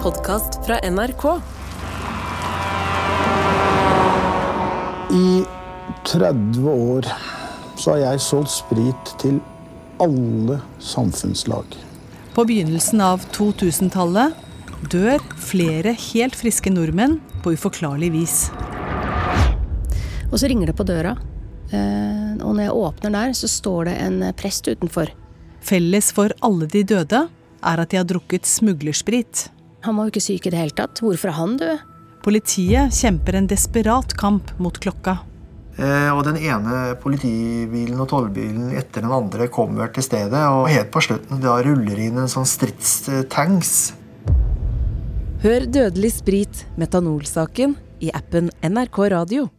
podkast fra NRK. I 30 år så har jeg solgt sprit til alle samfunnslag. På begynnelsen av 2000-tallet dør flere helt friske nordmenn på uforklarlig vis. Og så ringer det på døra. Eh, Og når jeg åpner der, så står det en prest utenfor. Felles for alle de døde er at de har drukket smuglersprit. Han var jo ikke syk i det hele tatt. Hvorfor er han død? Politiet kjemper en desperat kamp mot klokka. Eh, Og den ene politibilen og tollbilen etter den andre kommer til stedet. Og helt på slutten da ruller inn en sånn stridstanks. Hør Dødelig sprit, metanolsaken, i appen NRK Radio.